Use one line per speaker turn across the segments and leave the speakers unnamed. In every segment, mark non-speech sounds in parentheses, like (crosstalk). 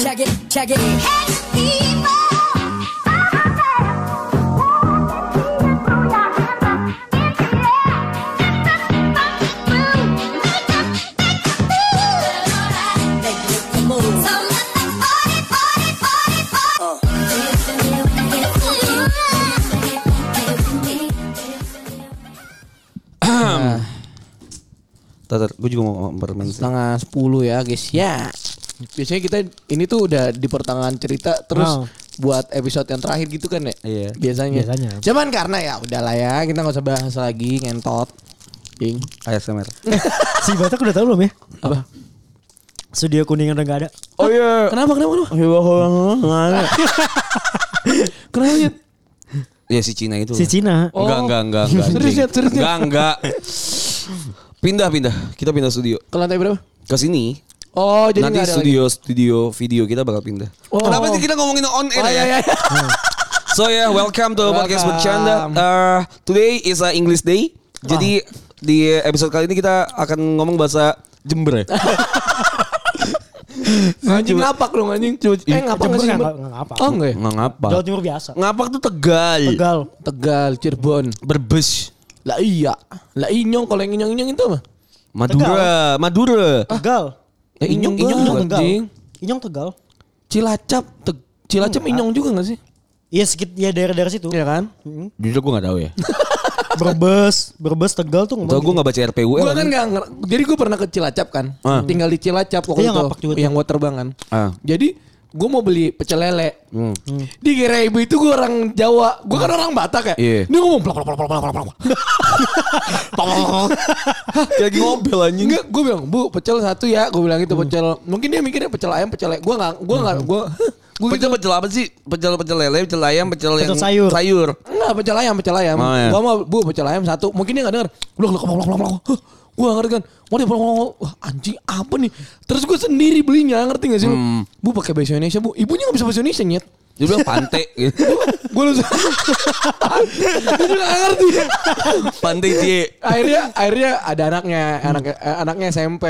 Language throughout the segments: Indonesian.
Check it. Make it the move.
Tatar, gue juga mau permen sih.
Setengah sepuluh ya guys ya. Biasanya kita ini tuh udah di pertengahan cerita terus
Wow.
buat episode yang terakhir gitu kan ya.
Iya.
Biasanya.
Biasanya.
Cuman karena ya udahlah ya kita nggak usah bahas lagi ngentot. Ing.
ASMR.
Si Batak udah tahu belum ya?
Apa?
Studio kuningan udah gak ada.
Oh iya. Kenapa kenapa kenapa? (laughs) Kenapa Nyet?
Ya si Cina itu.
Si Cina.
Oh.
Enggak, enggak,
(laughs)
enggak, enggak.
Serius,
anjing.
Nyet, serius, Nyet.
Enggak, enggak. Pindah, pindah. Kita pindah studio.
Ke lantai berapa?
Ke sini.
Oh jadi
Nanti
nggak ada
studio studio video kita bakal pindah.
Oh.
Kenapa sih kita ngomongin on
lagi.
air
Oh,
ya?
iya, iya.
So yeah, welcome to podcast
Welcome. Ah.
bercanda. Uh, today is a English day. Jadi di episode kali ini kita akan ngomong bahasa Jember ya.
Anjing ngapak dong anjing. Eh ngapak
Jember
nggak sih?
nggak-
Jember?
nggak ngapak.
Oh iya. enggak ya?
eh, Nggak ngapak.
Jawa Timur biasa.
Ngapak tuh Tegal.
Tegal.
Tegal, Cirebon.
Berbes.
Lah iya. Lah inyong kalau yang inyong-inyong itu apa?
Madura, Madura.
Tegal.
Ya inyong inyong
Ah. Inyong
juga.
Tegal. anjing.
Inyong Tegal.
Cilacap, Teg- Cilacap inyong juga gak sih?
Iya sedikit ya daerah-daerah situ.
Iya kan?
Jujur gue gak tahu ya.
Berbes, Berbes Tegal tuh
Tau gue gak baca RPUL.
Gue kan gak nger- Jadi gue pernah ke Cilacap kan
Ah.
Tinggal di Cilacap waktu
Iya,
itu
ngapak juga tuh.
Yang waterbang kan
Ah.
Jadi gue mau beli pecel lele
Hmm.
Dikira ibu itu gue orang Jawa Gue kan orang Batak ya
Iya.
Dia ngomong plak plak plak plak plak plak
(laughs)
plak
Kayak lagi ngobel anjing. Hmm.
Enggak gue bilang Bu pecel satu ya Gue bilang gitu pecel Mungkin dia mikirnya pecel ayam pecel lele Gue gak Gue gak Gue Gue gitu
Pecel pecel apa sih? Pecel pecel lele, pecel ayam, pecel,
Pecel
yang
sayur.
sayur.
Enggak Iya, pecel ayam pecel ayam
Oh, iya.
Gue mau Bu pecel ayam satu Mungkin dia gak denger Blok blok blok blok blok blok Gue gak ngerti kan Mau dia blok blok blok. Wah anjing apa nih Terus gue sendiri belinya Ngerti gak sih lu?
Hmm.
Bu pakai bahasa Indonesia bu Ibunya gak bisa bahasa Indonesia nyet (laughs)
Dia bilang pante (laughs) gitu.
Gue lu (laughs) Gue juga gak ngerti
Pante cie.
akhirnya akhirnya ada anaknya
Hmm.
anaknya eh, anaknya SMP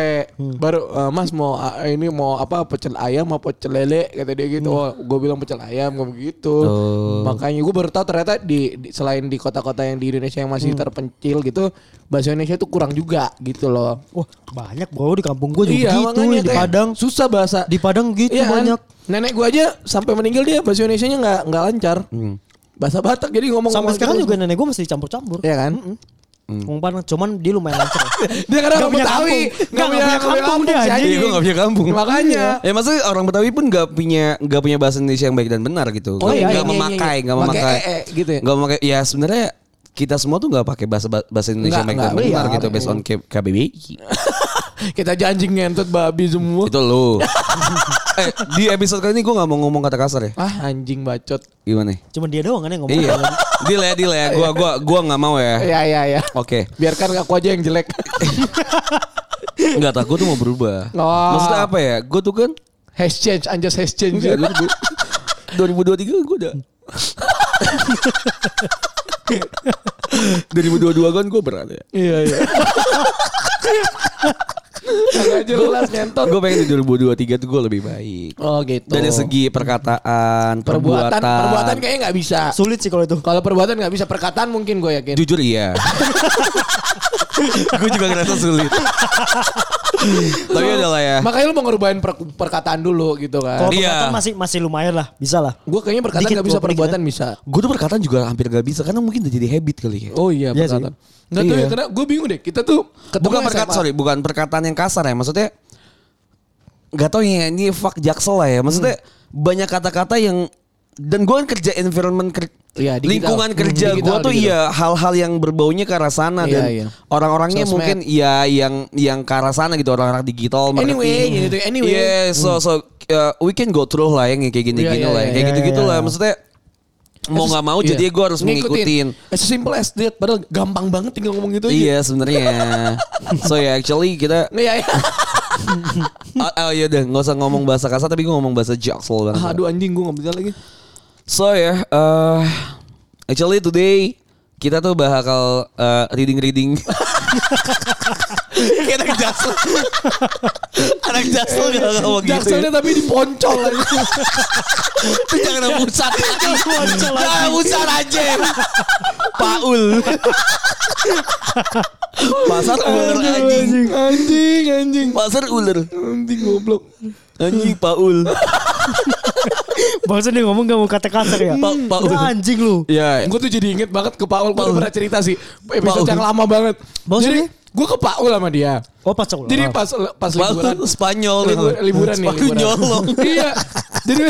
baru eh, mas mau ah, ini mau apa pecel ayam mau pecel lele kata dia gitu
Hmm.
oh gue bilang pecel ayam gue begitu
Oh.
makanya gue baru tahu ternyata di, di- selain di kota-kota yang di Indonesia yang
Hmm.
masih terpencil gitu bahasa Indonesia tuh kurang juga gitu loh Iya,
Wah, banyak bro di kampung gue juga gitu,
makanya
di
kayak
Padang.
susah bahasa
Di Padang gitu
Iya kan?
banyak.
nenek gue aja sampai meninggal dia bahasa Indonesia nya nggak nggak lancar bahasa Batak jadi ngomong
Hmm. Sampai
ngomong
sekarang
gitu.
juga Hmm. nenek gue masih campur-campur.
Iya kan
Ngomong Padang, cuman dia lumayan
(laughs)
lancar.
dia kadang
Nggak
orang
punya
Betawi
kampung.
nggak
Nggak punya kampung dia,
si
anjing.
Iya, gue gak punya kampung.
Makanya. Oh,
Ya maksudnya orang Betawi pun gak punya gak punya bahasa Indonesia yang baik dan benar gitu.
Oh,
Nggak-
iya,
nggak
iya, iya,
memakai,
iya.
nggak
Pakai
memakai.
ee, gitu ya?
Nggak memakai. Ya sebenarnya kita semua tuh gak pakai bahasa bahasa Indonesia
Nggak,
yang baik dan
nggak,
benar
iya.
gitu based on K- KBBI.
(laughs) Kita janjing ngentut babi semua.
Itu lo. (laughs) eh, di episode kali ini gue gak mau ngomong kata kasar ya.
Ah anjing bacot.
Gimana? ya?
Cuman dia doang kan
Oh.
yang ngomong.
Iya. Deal ya, deal ya. Gua gua gua nggak mau ya.
Ya ya ya.
Oke.
Biarkan aku aja yang
(laughs)
jelek.
Enggak tak, gue tuh mau berubah.
Oh.
Maksudnya apa ya? Gue tuh kan
has change, anjas has change.
Enggak, gua- gua- 2023 gue udah 2022 kan gue berat ya
Iya iya. Agak jelas ngentot.
Gue pengen di 2023 tuh gue lebih baik
Oh gitu.
Dari segi perkataan, perbuatan
perbuatan, perbuatan kayaknya nggak bisa.
Sulit sih kalau itu.
Kalau perbuatan nggak bisa, perkataan mungkin gue yakin.
Jujur iya Gue juga ngerasa sulit Tapi udah lah ya
Makanya lu mau ngerubahin per- perkataan dulu gitu
Kalau
kan.
Iya.
perkataan masih masih lumayan lah, bisa lah.
Gue kayaknya perkataan
Dikit,
nggak bisa,
dikit,
perbuatan
kan?
bisa.
Gue tuh perkataan juga hampir gak bisa Karena mungkin udah jadi habit kali ya
Oh iya,
Iya sih.
perkataan. Nggak tahu ya,
Iya.
karena gue bingung deh. Kita tuh ketemu
bukan
SMA.
perkataan sorry bukan perkataan yang kasar ya maksudnya nggak tahu ya ini fuck jaksel lah ya maksudnya
Hmm.
banyak kata-kata yang dan gue kan kerja environment ker-
Iya, digital.
lingkungan
Hmm,
kerja
digital,
gue tuh
digital.
iya hal-hal yang berbaunya ke arah sana
Iya,
dan
iya.
orang-orangnya
Sosmed.
mungkin ya yang yang ke arah sana gitu orang-orang digital marketing.
Anyway, gitu, anyway.
Yeah, so so uh, we can go through lah yang kayak gini-gini
Iya, iya,
lah yang kayak
iya,
gitu-gitu
iya.
lah maksudnya mau nggak mau jadi gue harus mengikutin
As simple Eh, as that, padahal gampang banget tinggal ngomong gitu aja.
Iya
(laughs)
sebenarnya. so ya actually kita
Iya, (laughs) iya.
Oh, oh iya udah nggak usah ngomong bahasa kasar tapi gue ngomong bahasa jaksel
Ah,
banget. (laughs)
Aduh anjing gue gak bisa lagi.
So ya, eh, actually today kita tuh bakal eh, reading-reading. (laughs) Kayak anak jaksel. anak jaksel
Eh,
gak ngomong gitu.
Jakselnya tapi diponcol
(laughs)
aja.
Itu (laughs) jangan ada pusat Jangan ada pusat aja
(laughs)
Paul Pasar ular anjing
Anjing, anjing.
Pasar ular
Anjing goblok.
Anjing Paul
Barusan dia ngomong gak mau kata kasar ya.
Pa- Paul.
Udah anjing lu.
Ya
Gue tuh jadi inget banget ke Paul. Gue
Paul.
pernah cerita sih.
Paul.
Episode yang lama banget.
Bang,
jadi
sini.
gue ke Paul sama dia.
Oh pas ulang.
Jadi pas pas liburan.
Paul Spanyol
Libur- liburan nih
Spanyol (laughs) nyolong
(laughs) iya jadi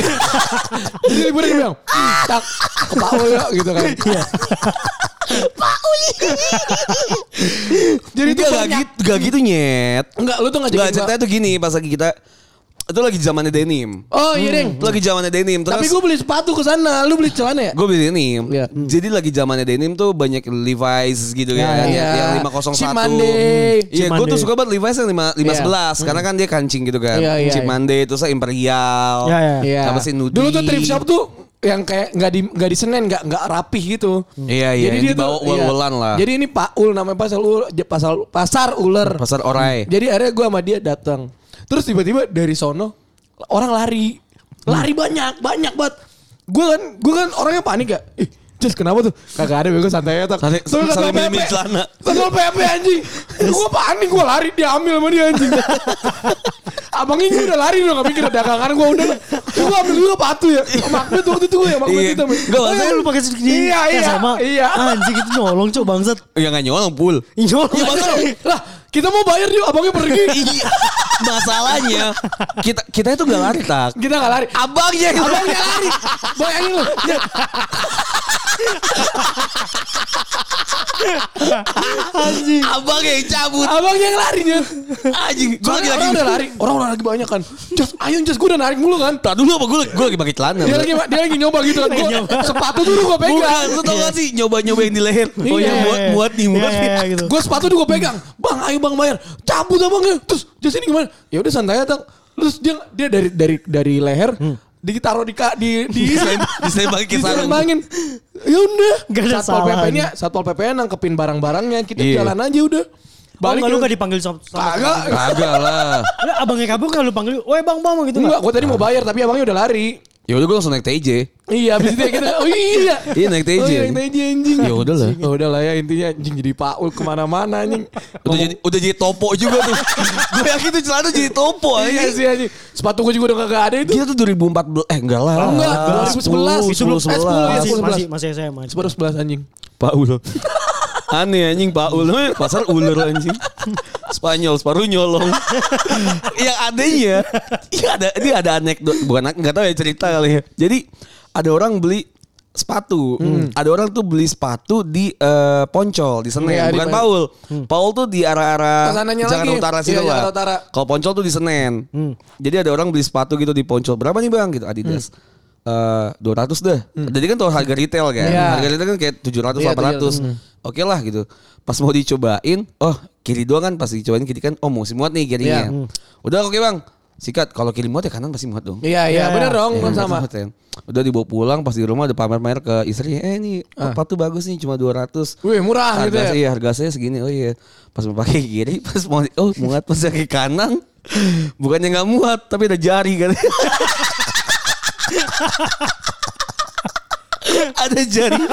jadi liburan dia bilang "Hmm, tak ke Paul yuk," gitu kan
Iya.
Jadi
jadi itu
itu gak
banyak
gitu, gak gitu nyet
enggak lu tuh ngajakin
Gak
gua.
ceritanya tuh gini Pas lagi kita Itu lagi zamannya denim
oh iya deng
Itu lagi zamannya denim Hmm, Terus
tapi gue beli sepatu ke sana lu beli celana ya
Gue beli denim.
Iya.
Jadi lagi zamannya denim tuh banyak Levi's gitu
Iya,
kan.
iya.
Yang 501.
Cimande.
Iya, gue tuh
Cimande.
suka banget Levi's yang 5, 511 karena kan dia kancing gitu kan.
Hmm. Iya, iya,
Cimande terus Imperial.
Iya, iya.
Apa sih Nudi?
dulu tuh thrift shop tuh yang kayak nggak di nggak di senen nggak nggak rapih gitu
Iya, iya, yang dibawa
tuh-
uel-uelan
iya.
lah.
jadi ini Paul namanya pasal Ul- pasal pasar ular
Pasar Orai.
Jadi akhirnya gue sama dia datang. Terus tiba-tiba dari sono orang lari. Lari banyak, banyak banget. Gue kan gue kan orangnya panik ya. Ih, Jess kenapa tuh? Kagak ada gue santai aja tak.
Santai-
Soalnya
sambil
kagak
minum
PP.
celana.
Tanggal PP anjing. Gue panik gue lari diambil sama dia anjing. (laughs) Abang ini udah lari udah gak mikir dagangan gue udah. Gue ambil dulu patu ya. Makbet waktu itu gue ya makbet
Iya.
itu.
Nggak,
Oh,
Masa
iya,
lu pakai sidik gigi?
Iya
Ya,
iya.
sama.
Iya.
Anjing itu nyolong cok bangsat.
Ya gak nyolong pul.
(laughs)
Nyolong.
Iya, masa lu-
Lah kita mau bayar yuk abangnya pergi.
Iya. Masalahnya kita kita itu gak lari tak.
Kita gak lari.
Abangnya
Abangnya lari. Bayangin lu. Ya.
Anjing.
abangnya yang cabut.
Abangnya yang lari Nyet.
Anjing, gue lagi lagi
Soalnya orang udah lari. Orang udah lagi banyak kan. Just, ayo just gue udah narik mulu kan.
Tak Nah, dulu apa gue gue lagi pakai celana.
Dia lagi dia lagi nyoba gitu kan. Gua, sepatu dulu gue
Bukan,
pegang.
lu tau gak sih nyoba-nyoba yang di leher. Oh
Iya.
ya muat muat nih muat.
Iya,
nih.
iya, iya, gitu.
Gue sepatu dulu gue pegang. Bang, ayo bang bayar. Cabut abangnya. Terus just ini gimana? Ya udah santai aja. Tang. Terus dia dia dari dari dari leher ditaruh di ka- di di
Diselem- diselembangin ke sarung.
diselembangin. Ya udah.
Gak ada
Satpol
salahnya.
PP-nya, Satpol PP-nya nangkepin barang-barangnya. Kita
Iya.
jalan aja udah.
Balik lu
ke-
gak dipanggil sama. sama-
Kagak.
Kagak lah.
Lah, Abangnya kabur kan lu panggil. Woi bang bang gitu
Enggak,
nggak?
gue tadi mau bayar tapi abangnya udah lari.
Ya udah gue langsung naik TJ.
Iya, abis itu ya kita, oh iya.
(laughs) Iya, naik TJ.
Oh, iya, naik TJ anjing.
Ya udah lah.
Oh, udah lah ya intinya anjing jadi Paul kemana-mana anjing.
(laughs) Udah jadi udah jadi topo juga
(laughs)
tuh. gue yakin tuh celana jadi topo
Iya
aja.
sih anjing. Sepatu gue juga udah kagak ada itu.
Gila
Oh,
tuh 2014 eh enggak lah.
Enggak, 2011.
Itu belum-
10, 11.
Masih
10,
masih masih saya main.
Sepatu 11 anjing.
Paul. Aneh anjing Paul Pasar ular anjing Spanyol separuh nyolong Iya, Yang adanya ya ada, Ini ada anekdot Bukan anek- nggak tahu ya cerita kali ya Jadi ada orang beli sepatu
Hmm.
Ada orang tuh beli sepatu di eh, Poncol Di Senen
Iya, di
Bukan
mana?
Paul Paul tuh di arah-arah
Kesananya
Jakarta
lagi.
Utara
Iya,
situ
Jakarta
lah
Utara. Hmm.
Kalau Poncol tuh di Senen Jadi ada orang beli sepatu gitu di Poncol Berapa nih bang gitu Adidas
Hmm.
Eh, 200 deh. Jadi kan tau harga retail kan.
Iya.
Harga retail kan kayak 700
Iya,
800.
700.
Oke lah gitu. Pas mau dicobain, oh kiri doang kan pas dicobain kiri kan, oh musim muat nih kirinya.
Iya.
Udah oke bang, sikat. Kalau kiri muat ya kanan pasti muat dong.
Iya, iya,
Iya.
bener dong,
Ya,
kan sama. (laughs)
muat ya. Udah dibawa pulang pas di rumah ada pamer-pamer ke istrinya, eh ini sepatu bagus nih cuma 200.
Ah. Wih, murah
harga
gitu ya.
saya, iya, harga saya segini. Oh iya. Pas mau pakai kiri, (laughs) pas mau oh muat pas pakai kanan. Bukannya nggak muat, tapi ada jari kan. (laughs) ada jari.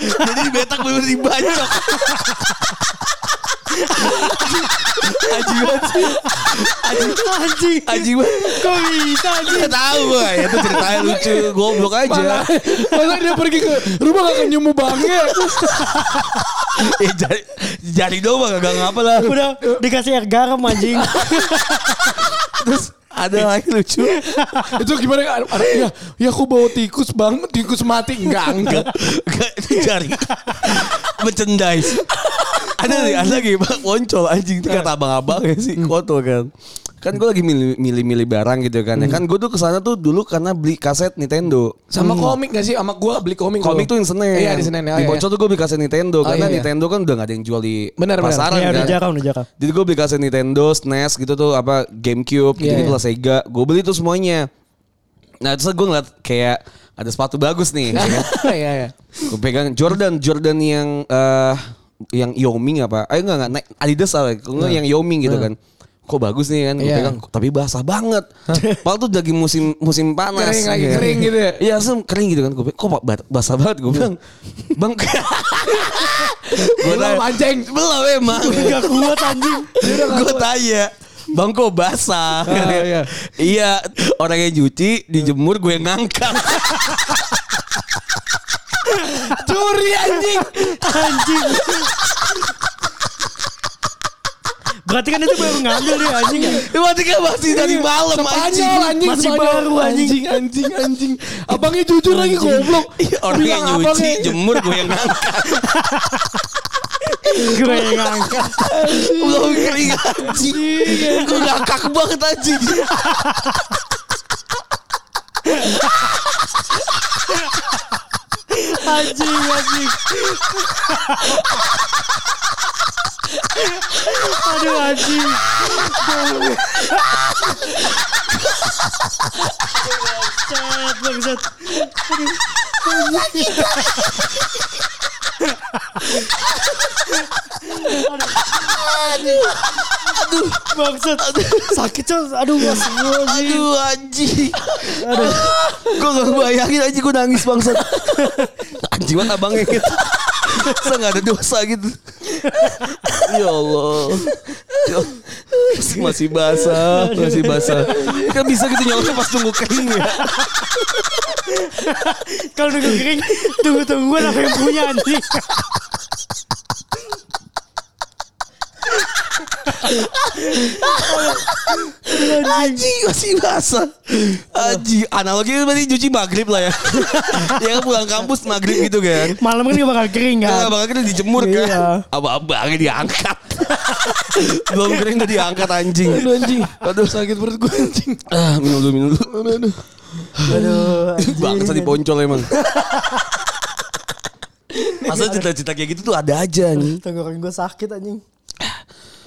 Jadi betak bener dibacok. Aji banget sih.
Anjing.
Aji banget.
Kok bisa anjing?
Gak tau gue. Ya, Itu ceritanya lucu. Goblok aja.
Malah, malah dia pergi ke rumah gak nyemu bangnya.
Eh, jari, jari doang gak ngapa lah.
Udah dikasih air garam anjing.
Terus ada lagi lucu.
Itu gimana kan? Ya, ya aku bawa tikus bang, tikus mati. Enggak, enggak.
Gak dicari Merchandise Ada nih ada lagi bang Poncol anjing Itu kata abang-abang ya sih Koto kan Kan gue lagi milih- milih-milih barang gitu kan ya. Kan gue tuh kesana tuh dulu karena beli kaset Nintendo
Sama komik gak sih? Sama gue beli komik.
Hmm. Komik tuh
dulu.
yang Senen
Iya, di Senen. oh,
Di
iya.
Poncol tuh gue beli kaset Nintendo
Oh,
Karena
iya, iya.
Nintendo kan udah gak ada yang jual di
Bener, bener.
pasaran
Iya udah
kan
jarang udah jarang.
jadi gue beli kaset Nintendo, SNES gitu tuh apa GameCube gitu,
Iya,
gitu
iya.
lah Sega. Gue beli tuh semuanya. Nah terus gue ngeliat kayak ada sepatu bagus nih.
(laughs) (laughs) Iya iya.
Gue pegang Jordan, Jordan yang eh yang Yoming apa? Eh enggak enggak Nike, Adidas apa? Kalau enggak yang Yoming gitu kan. Kok bagus nih kan gue
Iya.
pegang tapi basah banget. Padahal tuh lagi musim musim panas.
Kering lagi,
Iya.
kering gitu ya? Iya.
Iya, langsung kering gitu kan gue. Kok ba- basah banget gue bilang. Bang. gue
(laughs) Belum mancing.
Belum emang.
(laughs)
Gak kuat anjing.
gue tanya. Bang kok basah?
iya.
iya, orang yang cuci dijemur gue yang ngangkat. (laughs)
Curi anjing.
Anjing. Berarti kan itu baru ngambil dia anjing. ya?
Berarti kan masih dari
Iya.
malam anjing.
Spanyol anjing
Masih
Spanyol.
baru, anjing.
anjing anjing anjing. Abangnya jujur lagi goblok.
(laughs) Iya, orang yang
Bilang eh."
nyuci
abangnya-
jemur gue yang
(laughs)
ngangkat
Gue yang ngangkat.
belum kering "Iya, anjing
Iya,
gue ngakak banget anjing
Anjing, anjing. Aduh anjing. Bangsat, bangsat. Aduh, bangsat. Sakit, Cel. Aduh, mas. Aduh.
aduh anjing gue gak bayangin anjing gue nangis bangsat anjing banget abangnya gitu Masa gak ada dosa gitu Ya Allah Ya- Masih basah Masih basah Kan bisa gitu nyoloknya pas tunggu kering ya
Kalau nunggu kering, tunggu-tungguan apa yang punya anjing.
Anjing masih basah. Anjing analoginya berarti cuci maghrib lah ya. (laughs) ya kan pulang kampus maghrib gitu kan.
Malam kan gak bakal kering
Kan
kan.
abang kan dijemur
Iya.
kan. Abang-abangnya diangkat. Belum kering udah diangkat anjing.
Aduh anjing. Aduh sakit perut gue anjing.
Ah, minum dulu, minum dulu. Aduh. Bangsa diponcol emang. Masa cita-cita kayak gitu tuh ada aja nih.
Tenggorokan gue sakit anjing.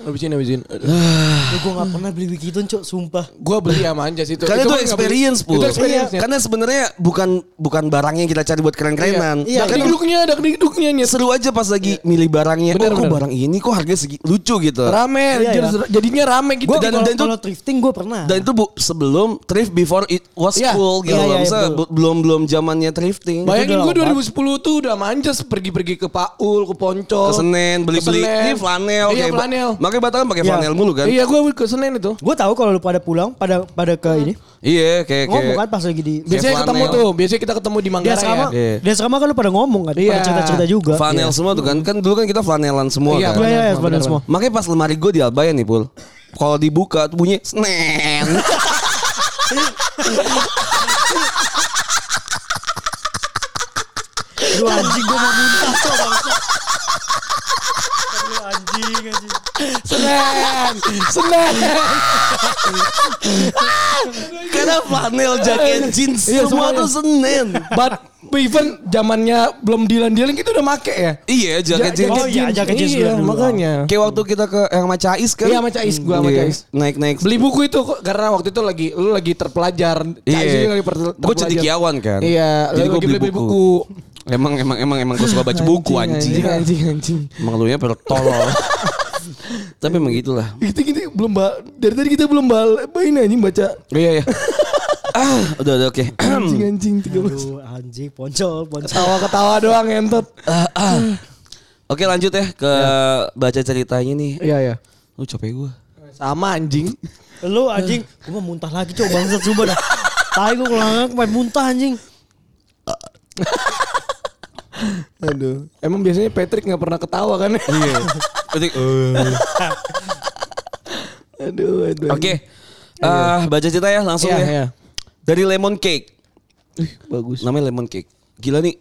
Habisin habisin.
Ya, gue gak pernah beli begituan cok, sumpah.
Gue beli sama Anjas itu.
Karena itu
mah nggak beli.
experience pul.
Itu experience.
Iya. Karena sebenarnya bukan bukan barangnya yang kita cari buat keren-kerenan.
Iya,
Iya,
Bahkan
duduknya ada duduknya nih.
seru aja pas lagi milih barangnya.
Bener,
oh, kok
bener.
barang ini kok harganya segi lucu gitu.
Rame,
Iya,
anjir,
iya.
jadinya rame gitu.
Gua-
Dan,
Dan-
kalau,
dan itu-
kalau thrifting gue pernah.
Dan itu bu sebelum thrift before it was
Iya.
cool gitu.
Iya, iya,
Maksudnya
betul.
bu- belum belum zamannya thrifting.
Bayangin
udah
gue
lama
2010 tuh udah manjas pergi-pergi ke Paul, ke Poncol.
Ke Senen beli-beli
Ke Senen.
ini flanel
Iya,
kayak-
flanel.
Makanya Batam pakai
Iya.
flanel mulu kan.
Iya, gue ke Senen itu.
Gue tahu kalau lu pada pulang, pada pada ke ini.
Iya,
Oh,
kayak
Ngomong
kayak
kan pas lagi di...
Kayak
Biasanya ketemu
flanel.
tuh, biasanya kita ketemu di
Di
Manggarai
asrama,
ya.
Iya.
di asrama kan lu pada ngomong kan?
Iya.
Pada cerita-cerita juga.
flanel semua tuh kan. Kan dulu kan kita flanelan semua
Iya,
kan.
Iya, iya,
Benar,
flanel
benar,
semua.
Makanya pas lemari gue di Albayan nih Pul. Kalau dibuka tuh bunyi
(laughs)
senen.
Aduh anjing, gue mau muntah cok. bangsat. Aduh anjing, anjing.
Senen, Senen.
Karena flanel jaket jeans
Iya,
semua
semuanya.
tuh senen.
But even zamannya belum dilan-dilan kita udah make ya.
Iya, jaket
Ja-
jeans.
Oh, iya, jaket jeans
Iya,
dulu.
makanya.
Kayak waktu kita ke yang sama Cais kan.
Iya, sama Cais, gua sama
Iya,
Cais.
Naik-naik.
Beli buku itu kok, karena waktu itu lagi lu lagi terpelajar. Cai juga
Iya.
lagi per-
Gue
terpelajar.
cendekiawan kan.
Iya,
Jadi
lu
gue
lagi
beli buku. Emang emang emang emang gue suka baca buku
Anjing,
anjing.
iya, anjing, anjing.
Emang lu nya pada
(laughs)
tolol. Tapi emang gitulah.
Kita kita belum ba- dari tadi kita belum bal ini anjing baca
Iya iya. ah, udah udah oke. (clears throat)
anjing anjing 13.
Aduh anjing, poncol, poncol.
Ketawa-ketawa doang entot.
Ah, ah. Oke lanjut ya ke baca ceritanya nih.
Iya ya.
Lu capek
(laughs)
gue.
Sama anjing.
Lu anjing, gue mau muntah lagi cok, bangsat sumpah dah. Tai gue kalau ngangkat main muntah anjing.
Aduh. Emang biasanya Patrick nggak pernah ketawa kan? Iya.
Oke,
(laughs) aduh, aduh.
Ah, baca cerita ya langsung
Iya,
ya.
iya.
Dari Lemon Cake.
Bagus.
Namanya Lemon Cake. Gila nih.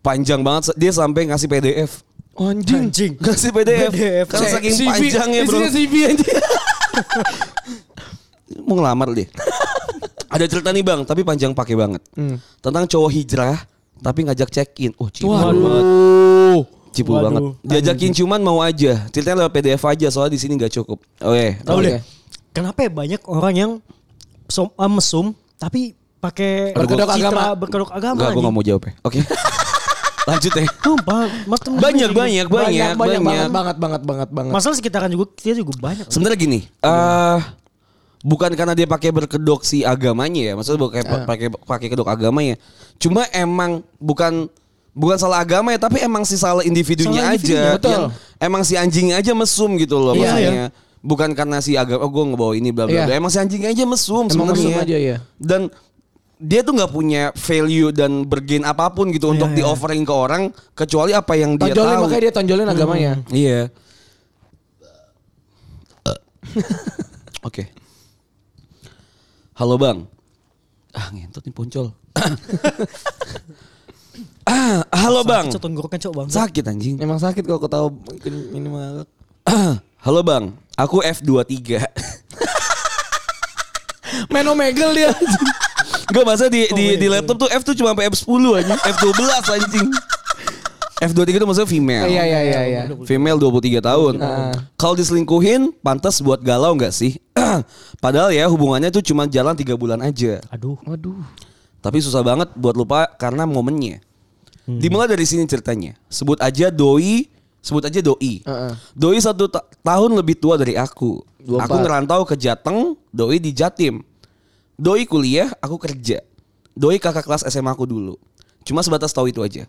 Panjang banget dia sampai ngasih
(laughs)
PDF.
Anjing.
Anjing.
Ngasih PDF.
PDF.
Karena Kan
Cek,
saking
CV.
panjangnya bro.
Isinya CV anjing.
Mau ngelamar
(laughs)
deh. Ada cerita nih bang, tapi panjang pakai banget.
Hmm.
Tentang cowok hijrah, tapi ngajak check in. Oh cipul banget.
Waduh.
Cipul
Waduh.
banget. Diajakin cuman mau aja. Ceritanya lewat PDF aja, soalnya di sini nggak cukup. Oh, iya. Oke.
Tahu
Oke.
deh. Kenapa ya banyak orang yang som, eh, mesum tapi pakai
Berkedok
citra,
agama.
berkedok agama.
Enggak, gue
anjing.
gak mau jawab ya. Oke. (laughs) Lanjut ya.
Sumpah, mak- temen-
Banyak, banyak, banyak,
banyak, banyak,
banyak.
banget, banget, banget, banget, banget.
Masalah sekitaran juga kita juga banyak.
Sebenarnya gini, eh bukan karena dia pakai berkedok si agamanya ya, maksudnya pakai
Iya.
pakai pakai kedok agamanya. Cuma emang bukan bukan salah agama ya, tapi emang si salah individunya
Salah
aja.
individunya, betul.
Yang emang si anjingnya aja mesum gitu loh
Iya,
maksudnya. Bukan karena si agama, oh gue ngebawa ini bla bla
Iya.
bla. Emang si anjingnya aja mesum
Emang mesum
sebenarnya.
aja, iya.
Dan dia tuh nggak punya value dan bergain apapun gitu untuk di offering ke orang kecuali apa yang dia tahu.
tonjolin Iya, makanya dia Hmm. tonjolin agamanya.
Iya. Oke. Halo bang. Ah ngentot nih poncol. ah, halo bang.
Cok tenggorokan cok bang.
Sakit anjing.
Emang sakit kalau ketawa minimal.
halo bang. Aku F23. (laughs)
Menomegel dia.
Gak masa di, di, di laptop tuh F tuh cuma sampai F10 anjing. F12 anjing. F23 itu maksudnya female.
(laughs) Iya, iya, iya, iya.
Female 23 tahun.
Ah.
Kalau diselingkuhin, pantas buat galau nggak sih? (clears throat) Padahal ya hubungannya tuh cuma jalan tiga bulan aja.
Aduh.
Waduh.
Tapi susah banget buat lupa karena momennya. Dimulai dari sini ceritanya. Sebut aja doi, sebut aja doi.
Heeh.
Doi satu ta- tahun lebih tua dari aku.
Dua
Aku
empat.
ngerantau ke Jateng, doi di Jatim. Doi kuliah, aku kerja. Doi kakak kelas SMA aku dulu. Cuma sebatas tahu itu aja.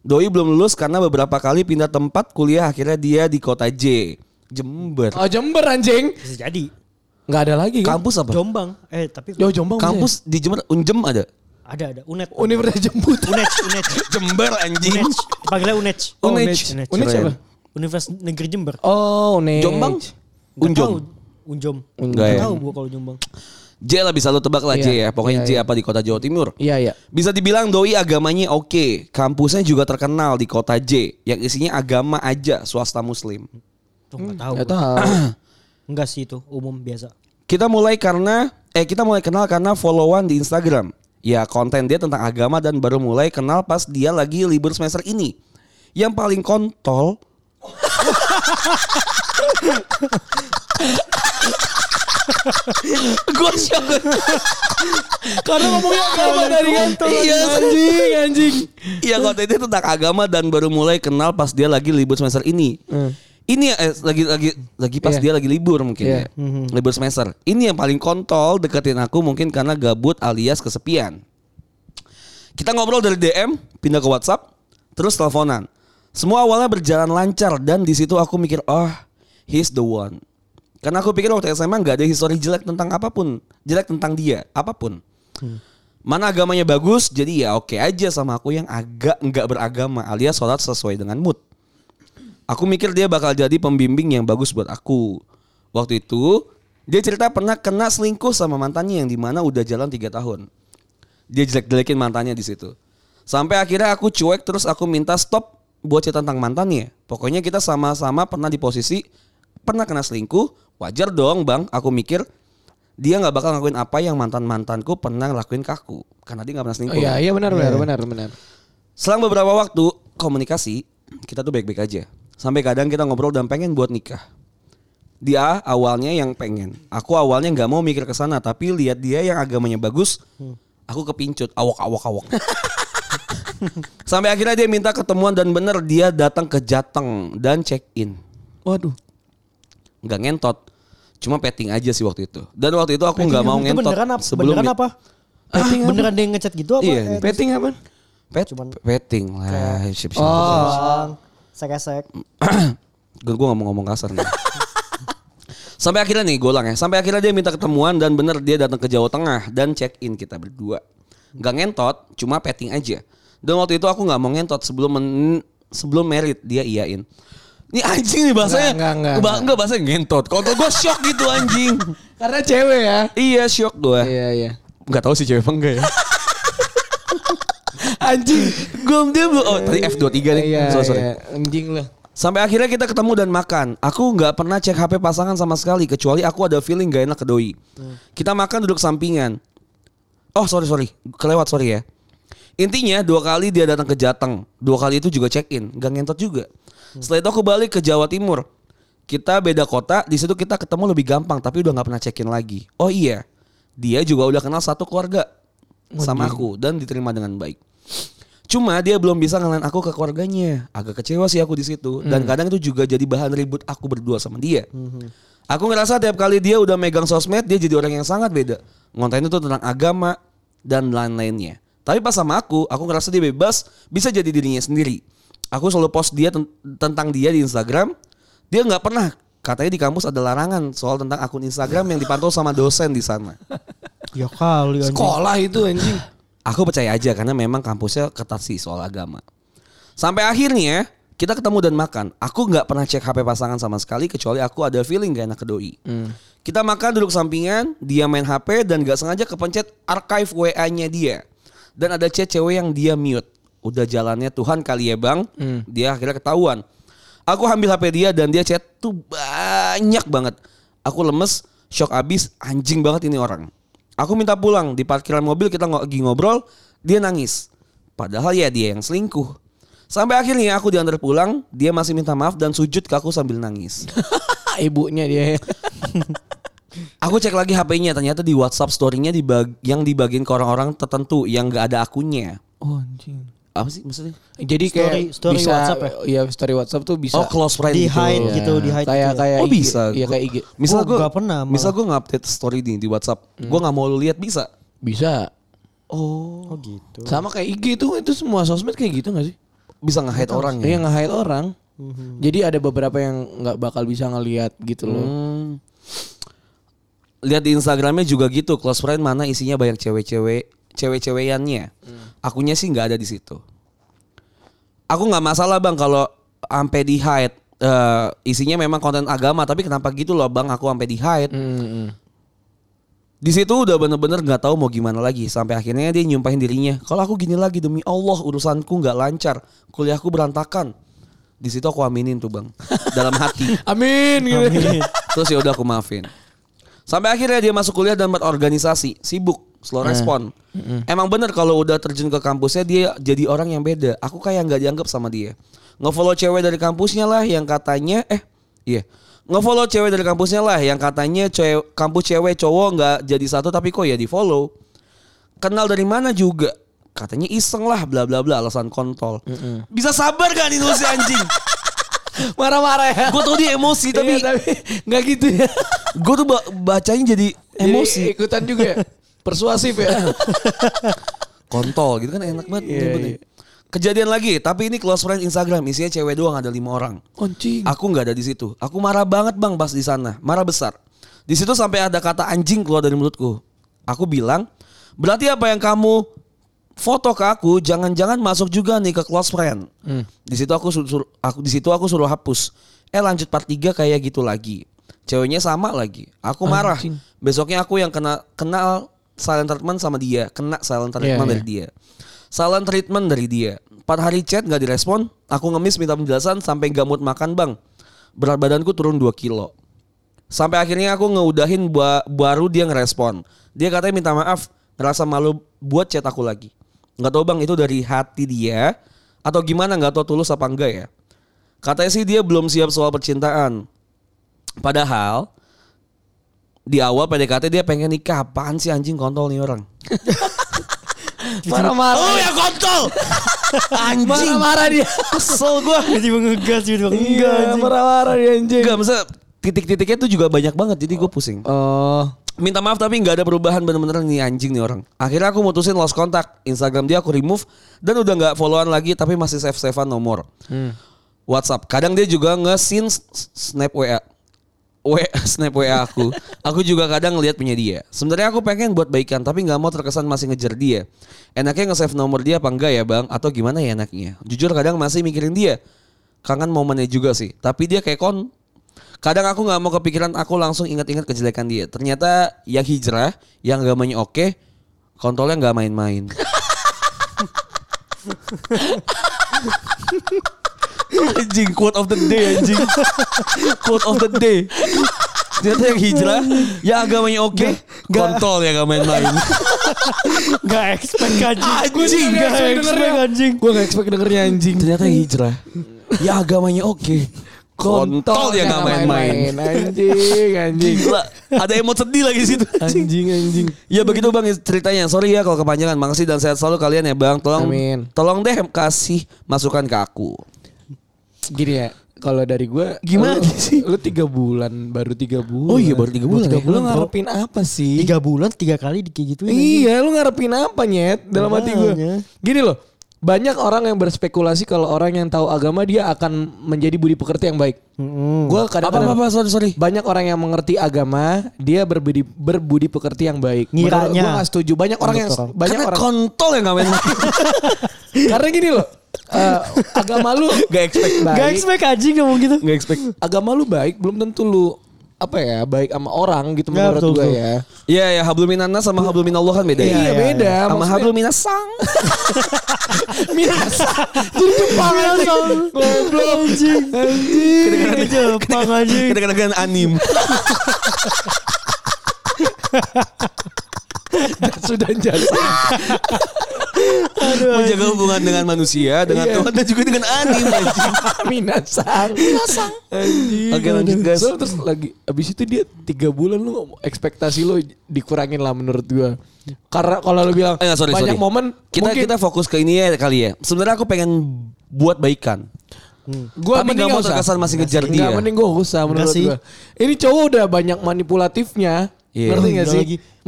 Doi belum lulus karena beberapa kali pindah tempat kuliah akhirnya dia di kota J. Jember.
Oh Jember anjing.
Bisa jadi.
Nggak ada lagi kan?
Kampus apa?
Jombang. Eh tapi
Yo Jombang. iya. maksudnya.
Kampus di Jember Unjem ada.
ada ada unet.
Universitas Jemput.
Unet, unet.
Jember anjing.
Unet. Panggilnya unet.
Oh, Unej.
Unej.
Unej siapa?
Universitas Negeri Jember.
Oh, nih.
Jombang?
Nggak tahu.
Unjom.
Unjom.
Enggak
Nggak
ya.
tahu gua kalau Jombang.
J lah bisa lo tebak lah J ya.
Iya,
Pokoknya
iya,
J apa di kota Jawa Timur.
Iya, iya.
Bisa dibilang doi agamanya oke. Kampusnya juga terkenal di kota J. Yang isinya agama aja swasta muslim.
Tuh nggak tahu.
Nggak
gua.
tahu.
Enggak sih itu umum biasa.
Kita mulai karena eh kita mulai kenal karena followan di Instagram. Ya konten dia tentang agama dan baru mulai kenal pas dia lagi libur semester ini. Yang paling
(laughs)
kontol Gue shock
(coughs) Karena ngomongnya agama dari kantor.
Iya,
anjing, anjing.
Iya kontennya tentang agama dan baru mulai kenal pas dia lagi libur semester ini.
Hmm.
Ini eh, lagi lagi lagi pas
Iya.
dia lagi libur mungkin ya.
Iya.
Libur semester. Ini yang paling kontol deketin aku mungkin karena gabut alias kesepian. Kita ngobrol dari DM, pindah ke WhatsApp, terus teleponan. Semua awalnya berjalan lancar dan di situ aku mikir, "Oh, he's the one." Karena aku pikir waktu SMA nggak ada histori jelek tentang apapun, jelek tentang dia, apapun. Mana agamanya bagus, jadi ya oke aja sama aku yang agak nggak beragama alias sholat sesuai dengan mood. Aku mikir dia bakal jadi pembimbing yang bagus buat aku. Waktu itu dia cerita pernah kena selingkuh sama mantannya yang dimana udah jalan tiga tahun. Dia jelek-jelekin mantannya di situ. Sampai akhirnya aku cuek terus aku minta stop buat cerita tentang mantannya. Pokoknya kita sama-sama pernah di posisi pernah kena selingkuh. Wajar dong bang, aku mikir dia nggak bakal ngakuin apa yang mantan mantanku pernah lakuin ke aku karena dia nggak pernah
Oh,
selingkuh.
iya, iya benar, benar, benar, benar.
Selang beberapa waktu komunikasi, kita tuh baik-baik aja. Sampai kadang kita ngobrol dan pengen buat nikah. Dia awalnya yang pengen. Aku awalnya nggak mau mikir ke sana, tapi lihat dia yang agamanya bagus, aku kepincut, awak-awak-awak. (laughs) Sampai akhirnya dia minta ketemuan dan bener dia datang ke Jateng dan check in.
Waduh.
Nggak ngentot. Cuma petting aja sih waktu itu. Dan waktu itu aku nggak mau
Iya, Itu
ngentot.
beneran apa?
sebelum
beneran
itu. (laughs)
apa? beneran dia ngechat gitu apa?
Iya.
Eh,
Petting apa?
Pet, petting lah. Siap-siap.
Oh. bang, Sek-sek.
gue gue ngomong-ngomong kasar nih. Sampai akhirnya nih golang ya. Sampai akhirnya dia minta ketemuan dan bener dia datang ke Jawa Tengah dan check in kita berdua. Gak ngentot, cuma petting aja. Dan waktu itu aku nggak mau ngentot sebelum men- sebelum merit dia iyain. Ini anjing nih bahasanya.
Nggak, nggak, nggak,
Ba-
nggak.
nggak, bahasanya ngentot. Kalau gue shock gitu
(laughs)
anjing.
Karena cewek ya.
iya shock gue.
Iya, iya.
Gak tahu sih cewek apa enggak ya.
(laughs) Anjing.
gue dia belum. Oh tadi F23 nih.
Iya,
sorry, sorry.
iya. Anjing lah.
Sampai akhirnya kita ketemu dan makan. Aku nggak pernah cek HP pasangan sama sekali kecuali aku ada feeling gak enak ke doi. Kita makan duduk sampingan. Oh sorry sorry, kelewat sorry ya. Intinya dua kali dia datang ke Jateng, dua kali itu juga check in, gak ngentot juga. Setelah itu aku balik ke Jawa Timur. Kita beda kota, di situ kita ketemu lebih gampang tapi udah nggak pernah check in lagi. Oh iya, dia juga udah kenal satu keluarga. sama aku dan diterima dengan baik. Cuma dia belum bisa ngalahin aku ke keluarganya. Agak kecewa sih aku di situ dan kadang itu juga jadi bahan ribut aku berdua sama dia. Aku ngerasa tiap kali dia udah megang sosmed dia jadi orang yang sangat beda. Ngontain itu tentang agama dan lain-lainnya. Tapi pas sama aku, aku ngerasa dia bebas, bisa jadi dirinya sendiri. Aku selalu post dia ten- tentang dia di Instagram. Dia nggak pernah katanya di kampus ada larangan soal tentang akun Instagram yang dipantau sama dosen di sana.
Ya kali anjing.
Sekolah itu anjing.
Aku percaya aja karena memang kampusnya ketat sih soal agama. Sampai akhirnya kita ketemu dan makan. Aku nggak pernah cek HP pasangan sama sekali kecuali aku ada feeling gak enak ke doi. Kita makan duduk sampingan, dia main HP dan gak sengaja kepencet archive WA-nya dia. Dan ada chat cewek yang dia mute. Udah jalannya Tuhan kali ya bang. Dia akhirnya ketahuan. Aku ambil HP dia dan dia chat tuh banyak banget. Aku lemes, shock abis, anjing banget ini orang. Aku minta pulang di parkiran mobil kita ngo- lagi ngobrol, dia nangis. Padahal ya dia yang selingkuh. Sampai akhirnya aku diantar pulang, dia masih minta maaf dan sujud ke aku sambil (laughs) nangis.
(laughs) Ibunya dia.
Aku cek lagi HP-nya, ternyata di WhatsApp story-nya dibag- yang dibagiin ke orang-orang tertentu yang nggak ada akunnya.
Oh anjing.
Apa sih maksudnya?
Jadi kayak
Story- story
bisa,
WhatsApp ya?
Iya story WhatsApp tuh bisa.
Oh,
Iya.
close friend
Di
gitu.
hide gitu, di hide
kayak
gitu.
kayak
oh
IG.
bisa.
Iya kayak IG.
Misal
Gua
gue
nggak pernah malah.
Misal gue nge-update story di, di WhatsApp,
Hmm.
gue nggak mau lu lihat bisa.
Bisa.
Oh,
Oh gitu.
Sama kayak IG tuh itu semua sosmed kayak gitu gak sih? Mhm.
bisa nge-hide orang ya.
Iya nge-hide orang. Jadi ada beberapa yang nggak bakal bisa ngelihat gitu loh.
Hmm. Lihat di Instagramnya juga gitu, close friend mana isinya banyak cewek-cewek, cewek-cewekannya.
Hmm.
Akunya sih nggak ada di situ. Aku nggak masalah bang kalau sampai di hide. Eh, isinya memang konten agama, tapi kenapa gitu loh bang? Aku sampai di hide.
Hmm.
Di situ udah bener-bener nggak tahu mau gimana lagi. Sampai akhirnya dia nyumpahin dirinya. Kalau aku gini lagi demi Allah urusanku nggak lancar, kuliahku berantakan. Di situ aku aminin tuh bang, (laughs) dalam hati.
Amin
Iya.
gitu.
Terus ya udah aku maafin. Sampai akhirnya dia masuk kuliah dan berorganisasi, sibuk, slow
Eh.
respon. Emang bener kalau udah terjun ke kampusnya dia jadi orang yang beda. Aku kayak nggak dianggap sama dia. Ngefollow cewek dari kampusnya lah yang katanya eh iya. Ngefollow cewek dari kampusnya lah yang katanya cewek kampus cewek cowok nggak jadi satu tapi kok ya di follow. Kenal dari mana juga? Katanya iseng lah bla bla bla alasan kontol. Bisa sabar kan itu si anjing?
(laughs) Marah-marah ya.
Gue tau dia emosi
(laughs)
tapi
tapi Iya, tapi nggak gitu ya.
gue tuh ba- bacanya jadi
Jadi
emosi
ikutan juga (laughs) ya. Persuasif ya.
kontol gitu kan enak banget
Iya,
nyebut
iya.
ya. kejadian lagi tapi ini close friend Instagram isinya cewek doang ada lima orang
Anjing.
aku nggak ada di situ aku marah banget bang pas di sana marah besar di situ sampai ada kata anjing keluar dari mulutku aku bilang berarti apa yang kamu foto ke aku jangan-jangan masuk juga nih ke close friend
Hmm.
di situ aku sur- sur- aku di situ aku suruh hapus eh lanjut part 3 kayak gitu lagi ceweknya sama lagi aku marah
Anjing.
besoknya aku yang kena kenal silent treatment sama dia kena silent
Iya,
treatment
iya.
dari dia silent treatment dari dia empat hari chat nggak direspon aku ngemis minta penjelasan sampai nggak mood makan bang berat badanku turun 2 kilo sampai akhirnya aku ngeudahin ba- baru dia ngerespon dia katanya minta maaf ngerasa malu buat chat aku lagi nggak tahu bang itu dari hati dia atau gimana nggak tahu tulus apa enggak ya katanya sih dia belum siap soal percintaan padahal di awal PDKT dia pengen nikah apaan sih anjing kontol nih orang
Marah-marah.
(laughs) Oh ya kontol. Anjing.
Marah-marah dia.
Kesel gua.
Jadi mengegas jadi gitu. enggak
Iya,
anjing.
marah-marah dia anjing.
Enggak, masa titik-titiknya tuh juga banyak banget jadi gue pusing.
Oh.
Minta maaf tapi nggak ada perubahan bener-bener nih anjing nih orang. Akhirnya aku mutusin lost kontak. Instagram dia aku remove dan udah nggak followan lagi tapi masih save-savean nomor. WhatsApp. Kadang dia juga nge-scene s- snap WA. W (laughs) snap WA aku. Aku juga kadang ngeliat punya dia. Sebenarnya aku pengen buat baikan tapi nggak mau terkesan masih ngejar dia. Enaknya nge-save nomor dia apa enggak ya, Bang? Atau gimana ya enaknya? Jujur kadang masih mikirin dia. Kangen momennya juga sih. Tapi dia kayak kon Kadang aku nggak mau kepikiran aku langsung ingat-ingat kejelekan dia. Ternyata yang hijrah, yang gamanya oke, kontolnya nggak main-main. (laughs) anjing quote of the day anjing (laughs) quote of the day ternyata yang hijrah yang agamanya oke kontol ya gak main-main
Enggak expect anjing.
Anjing,
nggak
Gua nggak
expect
expect anjing.
Gue gak expect dengernya anjing.
ternyata yang hijrah yang ya agamanya oke Kontol ya dia
ya
nggak main-main.
Anjing, anjing.
Gila, ada emot sedih lagi di situ. anjing.
Anjing, anjing.
Ya begitu bang ceritanya. Sorry ya kalau kepanjangan. Makasih dan sehat selalu kalian ya bang. Tolong,
Amin.
tolong deh kasih masukan ke aku.
Gini ya, kalau dari gue
Gimana
lu-
sih?
Lu tiga bulan, baru tiga bulan.
Oh iya, baru tiga bulan
Tiga
ya.
bulan
Bro.
ngarepin apa sih?
Tiga bulan tiga kali di kayak gituin. anjing.
Iya, lu ngarepin apa nyet dalam hati gue?
Makanya.
Gini loh, banyak orang yang berspekulasi kalau orang yang tahu agama dia akan menjadi budi pekerti yang baik.
Mm-mm.
Gue kadang-kadang
sorry sorry.
banyak orang yang mengerti agama dia berbudi berbudi pekerti yang baik.
Ngiranya.
gue gak setuju. Banyak orang yang
Betul.
banyak
Karena
orang
kontol ya nggak main.
karena gini loh. eh, agama lu
Gak expect.
baik.
Gak expect anjing ngomong gitu.
Gak expect.
agama lu baik belum tentu lu apa ya baik sama orang gitu
Ya,
menurut
betul,
gue
betul.
ya.
Iya ya hablum minannas sama hablum minallah kan beda. ya.
Iya, beda.
Sama
Maksudnya-
hablum minasang.
Minasa. Jadi Jepang anjing.
Goblok anjing. Anjing. Jepang anjing.
Kadang-kadang anim.
(laughs) Sudah jasa.
Aduh.
Menjaga hubungan dengan manusia, dengan
Iya.
Tuhan dan juga dengan
(laughs)
anim. anjing.
Minasang. Minasang. Anjing.
Oke, lanjut,
Aduh.
guys.
So, terus lagi abis itu dia tiga bulan lu ngomong, ekspektasi lu dikurangin lah menurut gua. Karena kalau lu bilang
Eh, nggak, sorry,
banyak
sorry.
momen
Kita
mungkin
kita fokus ke ini ya kali ya. Sebenarnya aku pengen buat baikan.
Hmm. gua
Tapi
mending
nggak mau
nggak usah.
terkesan masih ngejar
Nggak,
dia.
mending gua nggak usah menurut
sih.
gua. Ini cowok udah banyak manipulatifnya.
Iya.
Ngerti gak
Gila
sih?
lagi.
Manipulatif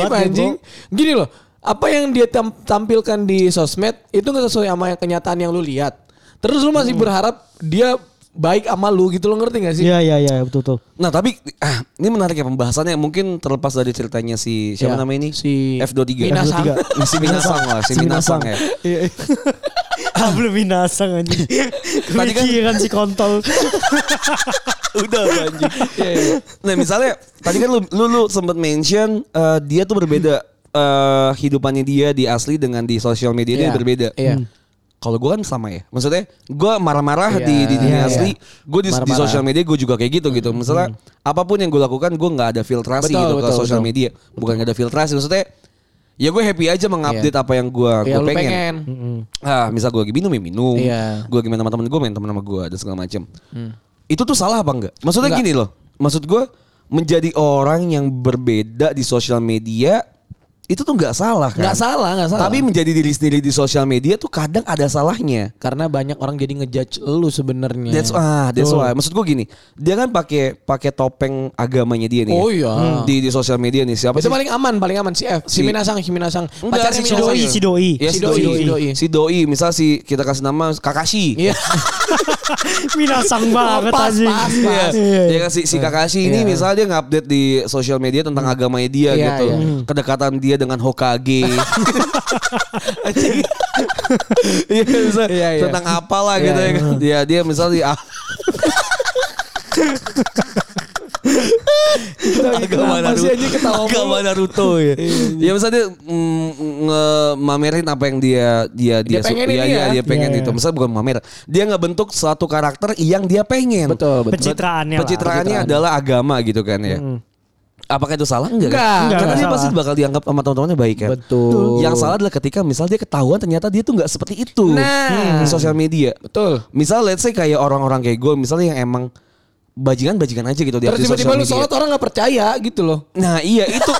Manipulatif banget ya,
anjing. Gini loh, apa yang dia tam- tampilkan di sosmed itu gak sesuai sama yang kenyataan yang lu lihat. Terus lu masih
Hmm.
berharap dia baik sama lu gitu lo ngerti gak sih?
Iya iya iya betul betul.
Nah tapi ah, ini menarik ya pembahasannya mungkin terlepas dari ceritanya si siapa
Iya,
namanya ini
si
F23
Minasang.
F23. si Minasang lah
(laughs)
si Minasang ya (laughs)
Iya. Belum binasang anjing.
Tadi
Tadi
kan-
kan si kontol.
(laughs) udah anjing
Iya,
nah misalnya tadi kan lu lu, lu sempat mention eh, dia tuh berbeda eh, hidupannya dia di asli dengan di sosial media dia
Iya,
berbeda
iya.
Hmm. kalau gue kan sama ya maksudnya gue marah-marah
Iya,
di di dunia
iya,
asli
iya.
gue di, di
Marah-marah. Hmm.
sosial media gue juga kayak gitu gitu misalnya apapun yang gue lakukan gue nggak ada filtrasi
Betul,
gitu ke
betul,
sosial
betul.
media bukan nggak ada filtrasi maksudnya ya gue happy aja mengupdate apa yang gue
Iya, lu
pengen.
pengen.
Ah, misal gue lagi minum ya minum,
Iya.
gue lagi main sama temen gue main temen sama gue dan segala macem. Itu tuh salah apa enggak? Maksudnya
Hmm. Enggak.
gini loh, maksud gue menjadi orang yang berbeda di sosial media itu tuh nggak salah kan?
Nggak salah, nggak salah.
Tapi menjadi diri sendiri di sosial media tuh kadang ada salahnya.
Karena banyak orang jadi ngejudge lu sebenarnya.
That's ah, that's why. Maksud gue gini, dia kan pakai pakai topeng agamanya dia nih. ya.
Oh iya.
Hmm. Di di sosial media nih siapa
Itu
sih?
paling aman, paling aman si F,
Si-
si, Minasang, si Minasang.
Enggak, si
Minasang.
Doi,
si Doi.
Ya, si,
Si Doi,
doi,
si Doi.
Si doi, misal si kita kasih nama Kakashi.
(laughs) Iya.
Minasang banget
Pas,
anjing.
pas,
Iya.
pas.
Iya.
Ya kan si, si Kakashi ini
Iya.
misalnya dia nge-update di sosial media tentang agamanya dia
Iya,
gitu.
iya.
Kedekatan dia dengan Hokage. Anjing. (laughs) Iya, misal
(laughs) Iya, iya.
tentang apalah
Iya,
gitu ya. kan. Dia dia (laughs) misalnya ah, agama
Kenapa
Naruto.
sih anjing
Iya.
ketawa mulu?
Agama Naruto ya. Ya misalnya dia mm, ngemamerin apa yang dia dia dia, su-
pengenin
iya,
dia. ya?
iya, dia pengen
Iya,
itu.
iya.
Misalnya bukan mamer. Dia ngebentuk suatu karakter yang dia pengen.
Betul, betul.
Pencitraannya lah.
Pencitraannya adalah agama gitu kan ya. Apakah itu salah enggak? kan?
Hmm. Enggak,
Karena
enggak
dia
salah.
pasti bakal dianggap sama teman-temannya baik kan.
Betul.
Yang salah adalah ketika misal dia ketahuan ternyata dia tuh nggak seperti itu
Nah.
di sosial media.
Betul.
Misal let's say kayak orang-orang kayak gue misalnya yang emang bajingan-bajingan aja gitu di
Terus
update
tiba-tiba
sosial
lu
media.
sholat orang gak percaya gitu loh.
Nah iya
(laughs)
itu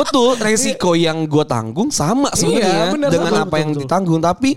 betul resiko yang gue tanggung sama sebenarnya
Iya, benar,
dengan
sama,
apa yang ditanggung tapi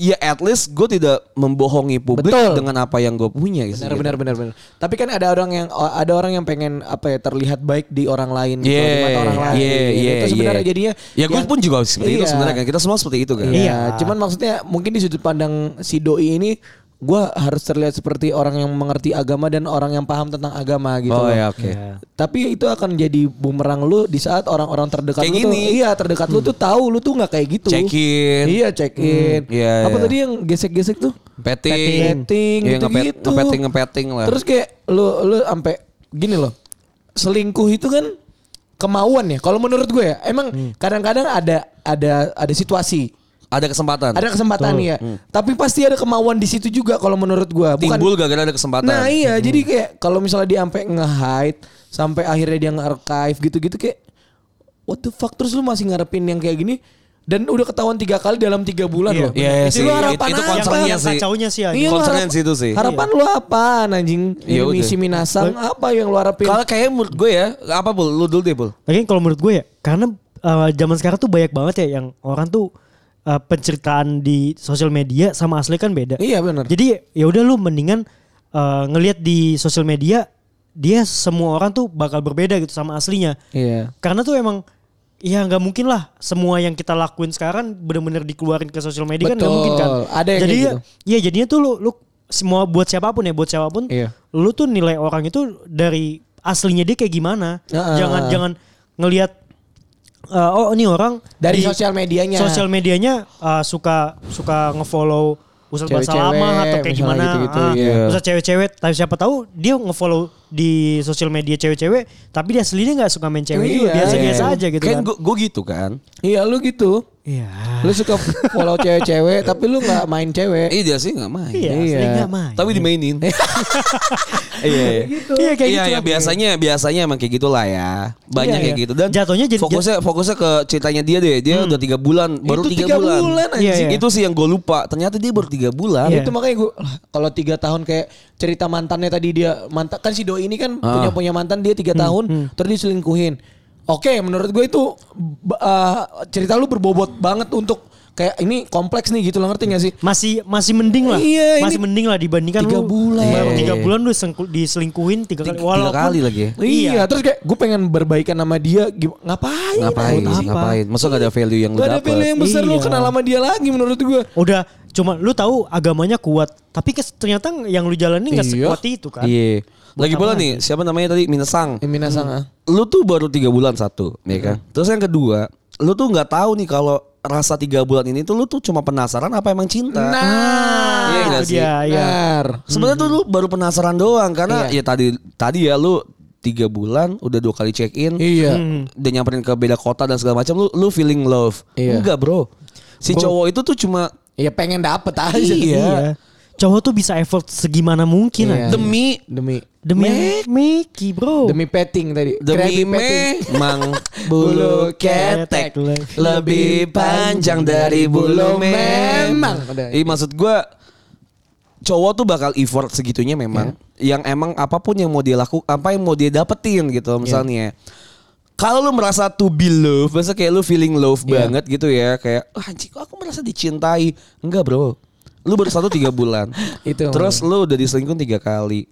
ya at least gue tidak membohongi publik
Betul.
dengan apa yang gue punya gitu.
Benar, benar, benar, benar. Tapi kan ada orang yang ada orang yang pengen apa ya terlihat baik di orang lain, gitu,
Iya,
di mata orang lain.
yeah, yeah,
itu sebenarnya
yeah.
jadinya.
iya. ya gue
yang-
pun juga seperti itu
Iya.
sebenarnya kan kita semua seperti itu kan.
Iya. Cuman maksudnya mungkin di sudut pandang si doi ini gue harus terlihat seperti orang yang mengerti agama dan orang yang paham tentang agama gitu.
oh
loh.
ya oke.
Tapi itu akan jadi bumerang lu di saat orang-orang terdekat
Kayak
lu tuh,
gini. Hmm.
iya terdekat lu tuh tahu lu tuh nggak kayak gitu.
Check in.
Iya check in.
Hmm, iya,
Apa
iya.
tadi yang gesek-gesek tuh?
Petting,
Petting,
Iya,
gitu-gitu.
ngepet- ngepeting, ngepeting lah.
Terus kayak lu lu sampai gini loh. Selingkuh itu kan kemauan ya. Kalau menurut gue ya, emang
Hmm.
kadang-kadang ada ada ada situasi,
ada kesempatan.
ada kesempatan ya. Tapi pasti ada kemauan di situ juga kalau menurut gue. Bukan
Hmm. Timbul gara-gara ada kesempatan.
Nah iya jadi kayak kalau misalnya dia sampai nge-hide gitu, sampai akhirnya dia nge-archive gitu-gitu kayak what the fuck terus lu masih ngarepin yang kayak gini dan udah ketahuan tiga kali dalam tiga bulan
Iya,
loh.
bener. Iya, iya
Jadi
sih.
lu
It-
harapan
itu
apa?
concernnya
yang
sih.
kacaunya sih
Iya,
anjing.
lu
Concernnya
harap-
sih itu sih.
Harapan lu apa anjing?
Iya,
Ini
udah. Iya.
misi minasang apa yang lu harapin?
Kalau kayak menurut gue ya, apa bul? Lu dulu deh bul.
Lagian kalau menurut gue ya, karena eh, zaman sekarang tuh banyak banget ya yang orang tuh eh, penceritaan di sosial media sama asli kan beda.
Iya benar.
Jadi ya udah lu mendingan eh, ngelihat di sosial media dia semua orang tuh bakal berbeda gitu sama aslinya.
Iya.
Karena tuh emang ya nggak mungkin lah semua yang kita lakuin sekarang bener-bener dikeluarin ke sosial media kan nggak
Betul.
mungkin kan.
Ada yang
Jadi
kayak gitu.
ya- ya jadinya tuh lu lu semua buat siapapun ya buat siapapun
Iya.
lu tuh nilai orang itu dari aslinya dia kayak gimana.
Heeh.
Jangan jangan ngelihat eh, oh ini orang
Dari
di-
sosial medianya.
sosial medianya uh, suka suka ngefollow Ustadz bahasa
Cewek-cewek,
lama atau kayak
misalnya
gimana
gitu-gitu,
ah,
iya.
Ustadz cewek-cewek tapi siapa tahu dia ngefollow di sosial media cewek-cewek tapi dia aslinya nggak suka main cewek
Iya,
juga biasa-biasa
iya.
aja gitu
Kan
kan
gue gue gitu kan.
Iya lu gitu.
iya
Lu suka
(laughs)
follow cewek-cewek tapi lu nggak main cewek.
Iya sih nggak main.
iya
Iya.
aslinya nggak main
Tapi dimainin. (laughs) iya, iya.
iya kayak
iya,
gitu
iya, biasanya biasanya emang kayak gitulah ya. Banyak
Iya,
kayak
iya.
gitu dan
Jatuhnya jadi- Hmm.
fokusnya fokusnya ke ceritanya dia deh. Dia udah tiga bulan, baru
Itu
tiga,
tiga
bulan.
bulan,
Iya, anjing. iya.
Itu sih yang gue lupa. Ternyata dia baru tiga bulan.
Iya.
Ah, Itu makanya gue kalau tiga tahun kayak cerita mantannya tadi dia mantan kan si doi ini kan
Ah.
punya punya mantan dia tiga tahun terus diselingkuhin. Oke, menurut gue itu b- uh, cerita lu berbobot banget untuk kayak ini kompleks nih gitu lo ngerti gak sih?
masih masih mending lah
Iya,
masih
ini
mending lah dibandingkan
tiga
lu
bulan.
baru
Iya.
tiga bulan lu sengku- diselingkuhin tiga
Tiga,
kali
tiga
walaupun
kali lagi ya.
Iya, terus kayak gue pengen berbaikan sama dia, gim- ngapain?
Ngapain?
anjing?
Ngapain? Masa gak ada value yang lu
Gak ada
dapet?
pilihan yang besar lu
Iya.
kenal sama dia lagi menurut gue.
udah cuma lu tahu agamanya kuat tapi kes- ternyata yang lu jalani nggak
Iya.
sekuat itu kan
Iya. Lagi pula nih, siapa namanya tadi? Minasang.
Iya.
Emina Sanga.
lu tuh baru tiga bulan satu, ya kan?
Hmm.
Terus yang kedua, lu tuh nggak tahu nih kalau rasa tiga bulan ini tuh lu tuh cuma penasaran apa emang cinta?
Nah,
iya
itu
nggak sih?
dia iya
benar.
Sebenarnya tuh lu baru penasaran doang karena ya tadi tadi ya lu tiga bulan udah dua kali check in,
Iya.
udah nyamperin ke beda kota dan segala macam, lu lu feeling love?
Iya.
Enggak bro, si cowok itu tuh cuma
Iya pengen dapet aja.
Iya. Cowok tuh bisa effort segimana mungkin
Iya.
anjing.
demi
Demi
Demi Meki bro.
demi petting tadi.
Demi
Krabby petting.
memang bulu ketek lebih panjang dari bulu memang.
Udah.
Ih, maksud gua cowok tuh bakal effort segitunya memang.
Iya.
Yang emang apapun yang mau dia laku, apa yang mau dia dapetin
Iya.
gitu misalnya. Kalau lu merasa to be loved, masa kayak lu feeling love
Iya.
banget gitu ya, kayak "Ah, anjing kok aku merasa dicintai. Enggak, Bro. Lu baru satu tiga bulan.
(laughs) Itu.
Terus lu udah diselingkuhin tiga kali.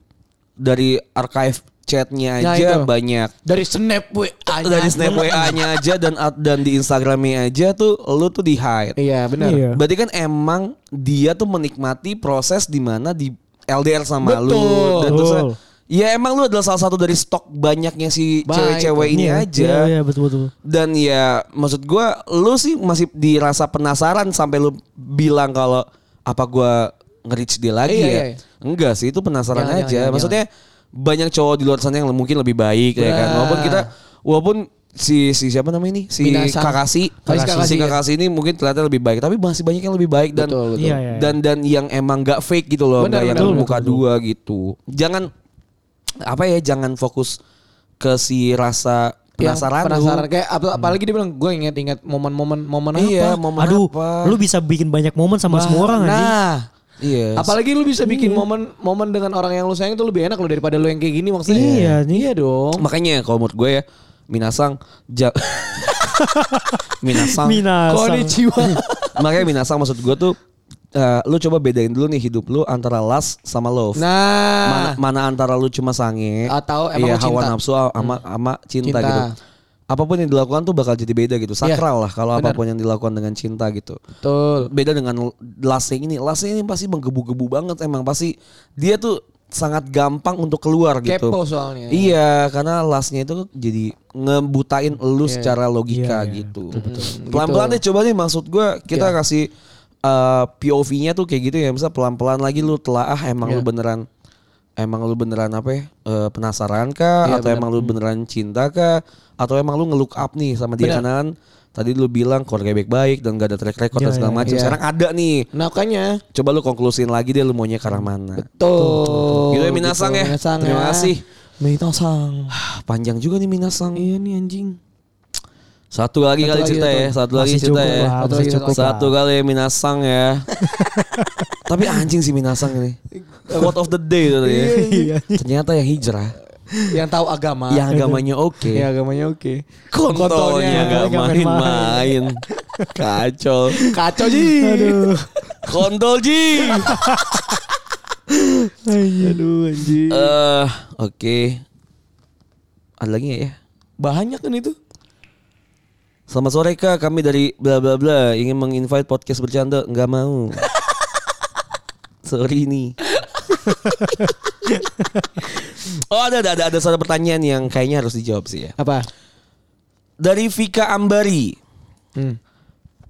Dari archive chatnya
Nah,
aja
itu.
banyak
Dari snap WA. -nya.
dari snap WA-nya aja dan dan di Instagramnya aja tuh lu tuh di hide.
Iya benar.
Iya.
Berarti kan emang dia tuh menikmati proses di mana di LDR sama
Betul.
lu dan terus
Betul.
ya emang lu adalah salah satu dari stok banyaknya si
Baik.
cewek-cewek ini
Iya,
aja.
Iya, iya, betul betul.
Dan ya maksud gua lu sih masih dirasa penasaran sampai lu bilang kalau apa gua nge-reach dia lagi
Iya,
ya.
iya, iya.
Enggak sih itu penasaran
Jangan,
aja.
jangan, jangan,
Maksudnya banyak cowok di luar sana yang mungkin lebih baik ya kan.
Nah.
Walaupun kita walaupun si si siapa namanya ini? Si
Minasang.
Kakasi.
Kakasi, Kakasi,
Si
ya.
Kakasi ini mungkin ternyata lebih baik, tapi masih banyak yang lebih baik dan
Betul, betul.
Iya, iya.
dan dan yang emang nggak fake gitu loh,
Benar,
nggak yang
betul,
muka dua gitu. Jangan apa ya, jangan fokus ke si rasa
Yang
penasaran, lu.
Iya,
Hmm.
Penasaran kayak ap- apalagi dia bilang gue inget-inget momen-momen momen apa?
Iya, momen
Aduh,
apa?
lu bisa bikin banyak momen sama semua orang anjing.
Nah.
Iya.
Apalagi lu bisa bikin momen-momen dengan orang yang lu sayang itu lebih enak lo daripada lu yang kayak gini maksudnya.
Iya, anjing.
iya dong.
makanya kalau menurut gue ya Minasang
(laughs)
ja Minasang.
Minasang.
Konnichiwa. (laughs) makanya Minasang maksud gue tuh eh, lu coba bedain dulu nih hidup lu antara lust sama love. mana,
Nah,
mana antara lu cuma sange
Atau
iya,
emang lu
hawa
cinta. Hmm.
nafsu ama ama cinta,
Cinta. Iya.
gitu. Apapun yang dilakukan tuh bakal jadi beda gitu. Sakral lah kalau
benar.
apapun yang dilakukan dengan cinta gitu.
betul.
Beda dengan lasting ini. Lasting ini pasti menggebu-gebu banget emang pasti dia tuh sangat gampang untuk keluar gitu.
Kepo soalnya.
Iya, karena lasnya itu jadi ngebutain elu secara logika
Iya, iya,
gitu. Pelan-pelan deh coba deh maksud gua kita kasih uh, POV-nya tuh kayak gitu ya. Misal pelan-pelan lagi lu telaah emang lu beneran emang lu beneran apa ya? uh, penasaran kah atau emang lu beneran cinta kah atau emang lu nge-look up nih sama dia kanan? Tadi lu bilang keluarga baik-baik dan gak ada track record dan segala macam. Sekarang ada nih.
Nah, makanya
Coba lu konklusin lagi deh lu maunya ke arah mana.
Tuh.
Gitu ya, Minasang ya.
Minasang
Terima kasih. Ah,
Minasang.
Panjang juga nih Minasang.
Iya nih anjing.
Satu lagi
Satu
kali
lagi,
cerita
satu
ya,
lagi.
satu lagi
Masih
cerita ya.
cukup lah,
Satu
masih
lagi,
cukup
Satu
lah.
kali ya Minasang
(laughs)
ya. Tapi anjing sih Minasang ini. What of the day itu tadi ya.
Iya. Ah.
Ternyata yang hijrah,
Yang tahu agama.
yang agamanya oke.
Iya, agamanya oke.
Kontolnya
Kontolnya
gak
nggak
main-main.
(laughs)
Kacau.
Kacau sih.
Aduh.
Kontol Ji.
Aduh anjir.
Eh, oke. Ada lagi gak ya?
Banyak kan itu.
Selamat sore kak, kami dari bla bla bla ingin menginvite podcast bercanda, nggak mau. Sorry ini. oh ada ada ada ada satu pertanyaan yang kayaknya harus dijawab sih ya.
Apa?
Dari Vika Ambari.
Hmm.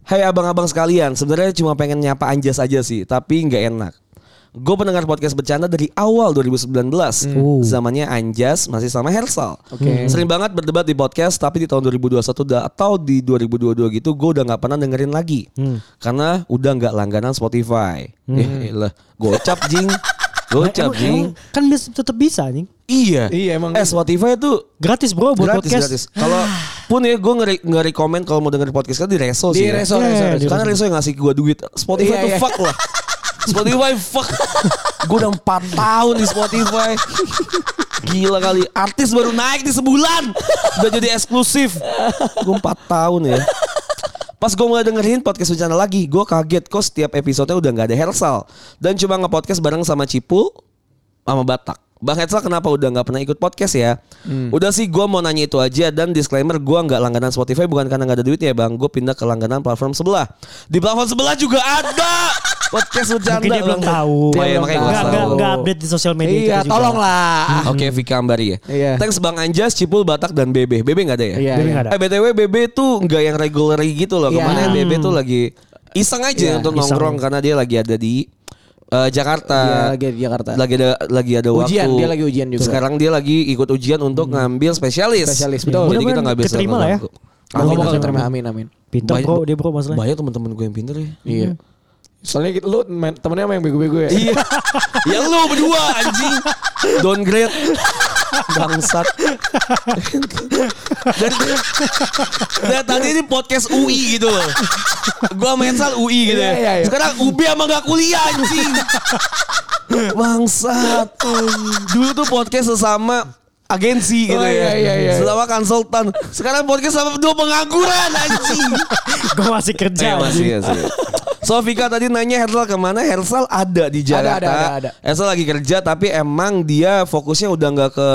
Hai abang-abang sekalian, sebenarnya cuma pengen nyapa Anjas aja sih, tapi nggak enak. Gue pendengar podcast bercanda dari awal 2019.
Oh.
Zamannya Anjas masih sama Hersal.
Hmm.
Hmm.
Oke.
Sering banget berdebat di podcast, tapi di tahun 2021 udah- atau di 2022 gitu gue udah nggak pernah dengerin lagi.
Hmm.
Karena udah nggak langganan Spotify. Eh, lah, gocap
(laughs)
jing. Gocap
Emang-
jing.
emang kan bis- tetap bisa anjing.
Iya.
Iya, emang
Eh Spotify tuh
Gratis bro
gratis
buat podcast.
gratis. Kalau pun ya gue nggak nggak rekomend kalau mau dengerin podcast kan di Reso
Di
sih. ya.
reso,
Iya,
reso,
di
reso.
Karena Reso yang ngasih gue duit Spotify
Iya,
tuh
iya.
fuck (laughs) lah Spotify (laughs) fuck Gue udah 4 tahun di Spotify Gila kali Artis baru naik di sebulan Udah jadi eksklusif Gue 4 tahun ya Pas gue mulai dengerin podcast bencana lagi Gue kaget kok setiap episodenya udah gak ada Hersal Dan cuma nge-podcast bareng sama Cipul Sama Batak Bang Hersal kenapa udah nggak pernah ikut podcast ya?
Hmm.
Udah sih gue mau nanya itu aja dan disclaimer gue nggak langganan Spotify bukan karena nggak ada duit ya bang. Gue pindah ke langganan platform sebelah. Di platform sebelah juga
(laughs)
ada podcast bercanda.
Mungkin dia belum
Bang.
tahu.
Oh,
Dia
iya,
belum
makanya
tahu.
gua nggak
Nggak nggak
tahu. Ah,
nggak update di sosial media
Iya,
kita juga.
tolonglah.
Oke, Vika Ambari ya.
Iya.
Thanks Bang Anjas, Cipul, Batak, dan BB. BB nggak ada ya?
Iya,
Tapi
iya.
nggak ada.
Eh BTW BB tuh nggak yang regular gitu loh.
Iya.
Kemarin BB tuh lagi iseng aja
Iya,
untuk
iseng.
nongkrong karena dia lagi ada di eh, Jakarta.
Iya, lagi ada di Jakarta.
Lagi ada lagi ada
Ujian,
waktu.
dia lagi ujian juga. Hmm.
Sekarang dia lagi ikut ujian untuk ngambil spesialis.
Spesialis, Iya. betul.
Jadi kita
Mudah-mudahan
nggak bisa
keterima lah ya.
ngeganggu.
Amin, amin,
amin.
amin, amin, amin.
Pinter
Banyak-
bro, dia bro masalahnya. (laughs)
Banyak teman-teman gue yang pinter ya.
Iya.
Hmm.
Soalnya kita, lu main, temennya sama yang bego-bego ya.
Iya. ya lu berdua anjing. Downgrade. Bangsat. Dan, dan tadi ini podcast UI gitu loh. Gua mensal UI gitu
Iya, iya,
ya.
iya.
Sekarang UB sama gak kuliah anjing. Bangsat. Dulu tuh podcast sesama agensi gitu
Oh,
ya.
iya, iya, iya.
Sesama konsultan. Sekarang podcast sama dua pengangguran anjing.
Gue masih kerja.
Eh, masih,
anjing. (laughs) Iya.
masih. So Vika tadi nanya Hersal kemana Hersal ada di Jakarta
ada, ada.
Hersal lagi kerja Tapi emang dia fokusnya udah nggak ke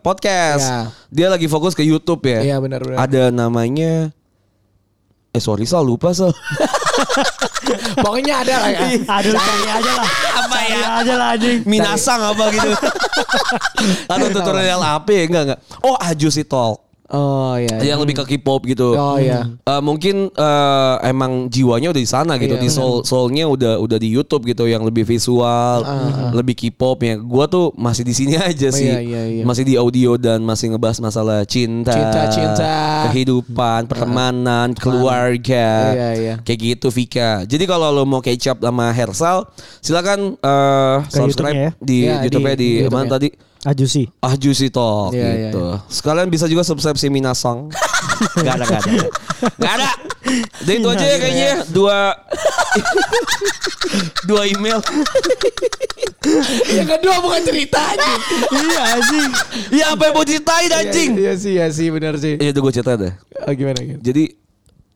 podcast
Iya.
Dia lagi fokus ke Youtube ya
Iya, benar, benar.
Ada namanya Eh sorry Sal lupa
(laughs)
Sal
Pokoknya ada lah ya.
Aduh cari aja lah.
(laughs) Apa
Cari
ya?
aja lah anjing.
Minasang apa
(laughs)
gitu Atau tutorial apa ya Enggak enggak Oh Ajusi Talk
Oh iya. iya.
Yang lebih ke K-pop gitu
Hmm.
Oh iya.
Eh, mungkin eh, emang jiwanya udah di sana gitu
Iya,
di soul soulnya udah udah di YouTube gitu yang lebih visual
Ah,
lebih K-pop ya gua tuh masih di sini (laughs) aja sih
iya, iya, iya.
masih di audio dan masih ngebahas masalah cinta
Cinta, cinta. Ah,
kehidupan pertemanan keluarga
Iya, iya.
kayak gitu Vika jadi kalau lo mau catch up sama Hersal silakan eh,
YouTube-nya
subscribe
ya.
di
Iya, di-
YouTube-nya di,
di
mana
YouTube-nya.
tadi
Ajusi.
Ah Juicy Talk
Iya, iya,
gitu. Sekalian bisa juga subscribe si (laughs) Minasong. gak ada, gak ada. Gak ada. Jadi itu aja ya kayaknya. Dua... (laughs) dua email.
Yang Iya, kedua bukan cerita anjing.
Iya anjing.
ya apa yang mau ceritain anjing?
Iya sih, iya sih benar sih.
Iya itu gue cerita deh.
Oh, gimana gitu.
Jadi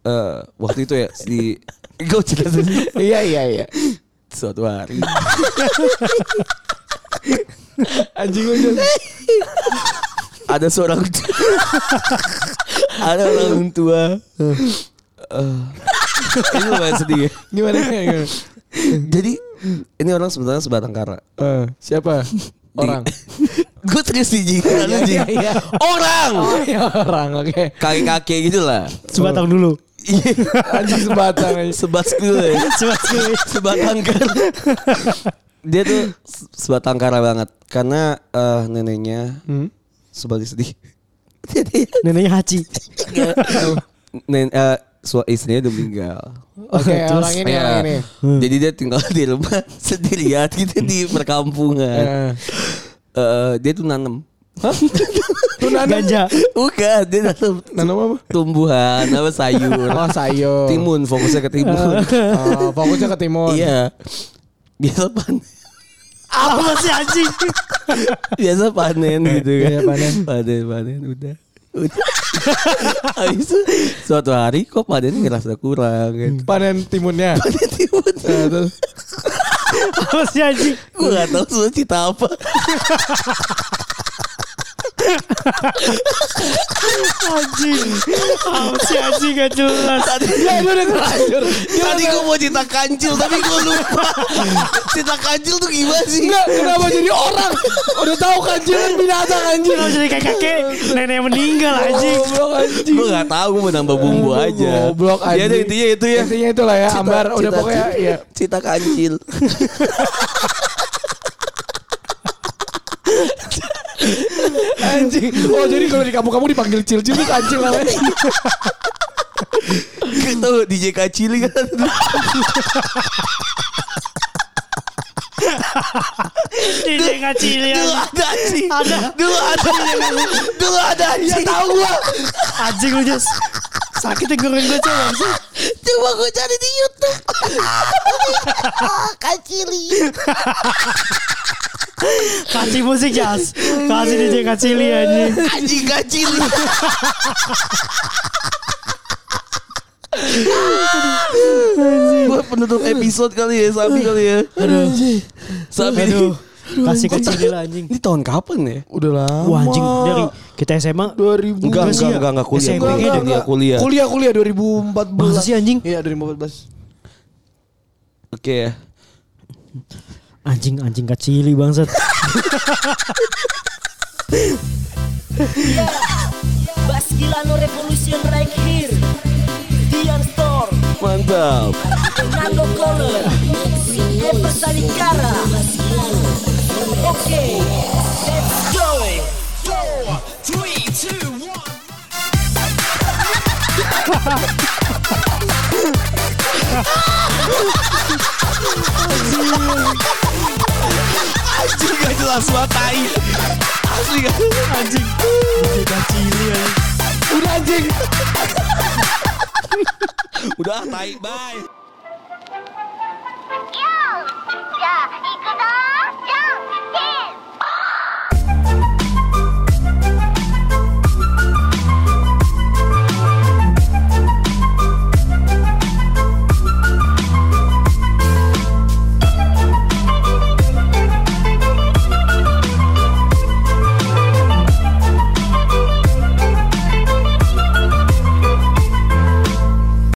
eh waktu itu ya (laughs) si... Gue cerita dulu.
Iya, iya, iya.
Suatu hari.
Anjing gue jauh.
ada seorang (laughs) ada orang tua Eh, eh, ini lumayan sedih (laughs) ya.
Gimana (laughs) gimana?
Jadi ini orang sebenarnya sebatang kara.
Eh, siapa?
(laughs)
Orang.
Gue serius sih Ji. Lu, Ji.
iya, iya.
Orang
Oh, iya, (laughs) orang. Oke.
Kakek-kakek gitu lah
Sebatang dulu. (laughs)
Anjing sebatang anjing.
Iya. Sebat
(laughs)
sekule
Sebatang.
Sebatang kan. kara Dia tuh se- sebatang kara banget Karena eh, neneknya
Hmm?
Sebalik sedih
Neneknya Haji.
Nen, eh, su- istrinya udah meninggal
Oke,
(laughs) Terus,
orang ini,
Iya.
orang ini.
Jadi dia tinggal di rumah (laughs) Sendirian
Iya.
gitu di perkampungan (laughs)
Eh,
Eh, Dia tuh nanem
Tuh nanam.
Ganja.
Bukan, dia nanam
Nanam Nah, apa?
tumbuhan apa sayur.
Oh sayur.
Timun, fokusnya ke timun.
(laughs) Oh, fokusnya ke timun.
iya. Biasa panen.
Apa sih anjing?
Biasa
(laughs)
panen gitu kan.
Iya, panen.
Panen, panen udah. Udah. (laughs) Habis itu suatu hari kok panen ngerasa kurang kan.
Panen timunnya.
Panen timun.
Hmm. (laughs) Nah, terus
Apa sih anjing?
Gue gak tau sebenarnya cita apa.
Anjing. Apa sih anjing gak jelas.
(laughs) Ya lu udah terlanjur.
(laughs) Tadi gue mau cita kancil tapi gue
(laughs)
lupa. cita kancil tuh gimana sih?
Enggak, kenapa jadi orang? Udah tahu kan jangan binatang anjing.
Kenapa jadi kayak kakek nenek meninggal anjing.
Goblok anjing.
Gue gak tau, gue mau nambah bumbu aja.
Goblok anjing.
Ya udah, intinya itu ya.
Intinya itulah ya, Ambar udah pokoknya ya.
cita kancil.
Anjing. Oh, jadi kalau di kampung kamu dipanggil cil-cil itu anjing namanya.
Kita DJ Kacili kan.
Ini kacil ya.
Dulu ada anjing. Ada. Dulu ada. Dulu ada anjing.
Tahu gua.
Anjing lu Jess. Sakit ya goreng gue coba sih.
Coba gue cari di Youtube. Kacili.
Kasih musik Jas. Kasih DJ kacili anjing.
Anjing Kacili. Buat penutup episode kali ya Sabi kali ya Aduh Sabi ini
Aduh. Kasih
Kok
kacili
tak-
lah anjing.
Ini tahun kapan ya?
Udah lama.
Wah anjing dari kita SMA
2000
Enggak,
Enggak sih
enggak, enggak,
ya?
enggak kuliah.
SMP
Enggak,
kayaknya
enggak, enggak, Iya, kuliah.
Kuliah kuliah 2014.
Masa sih, anjing?
Iya 2014.
Oke ya.
anjing anjing kacili bangsat.
Bas gila no revolution right here Dian Store
Mantap.
Nando Color Ever Sanikara Okay Let's go
Anjing gak jelas banget tai. Asli gak anjing. (laughs)
Udah anjing.
Udah tai, bye.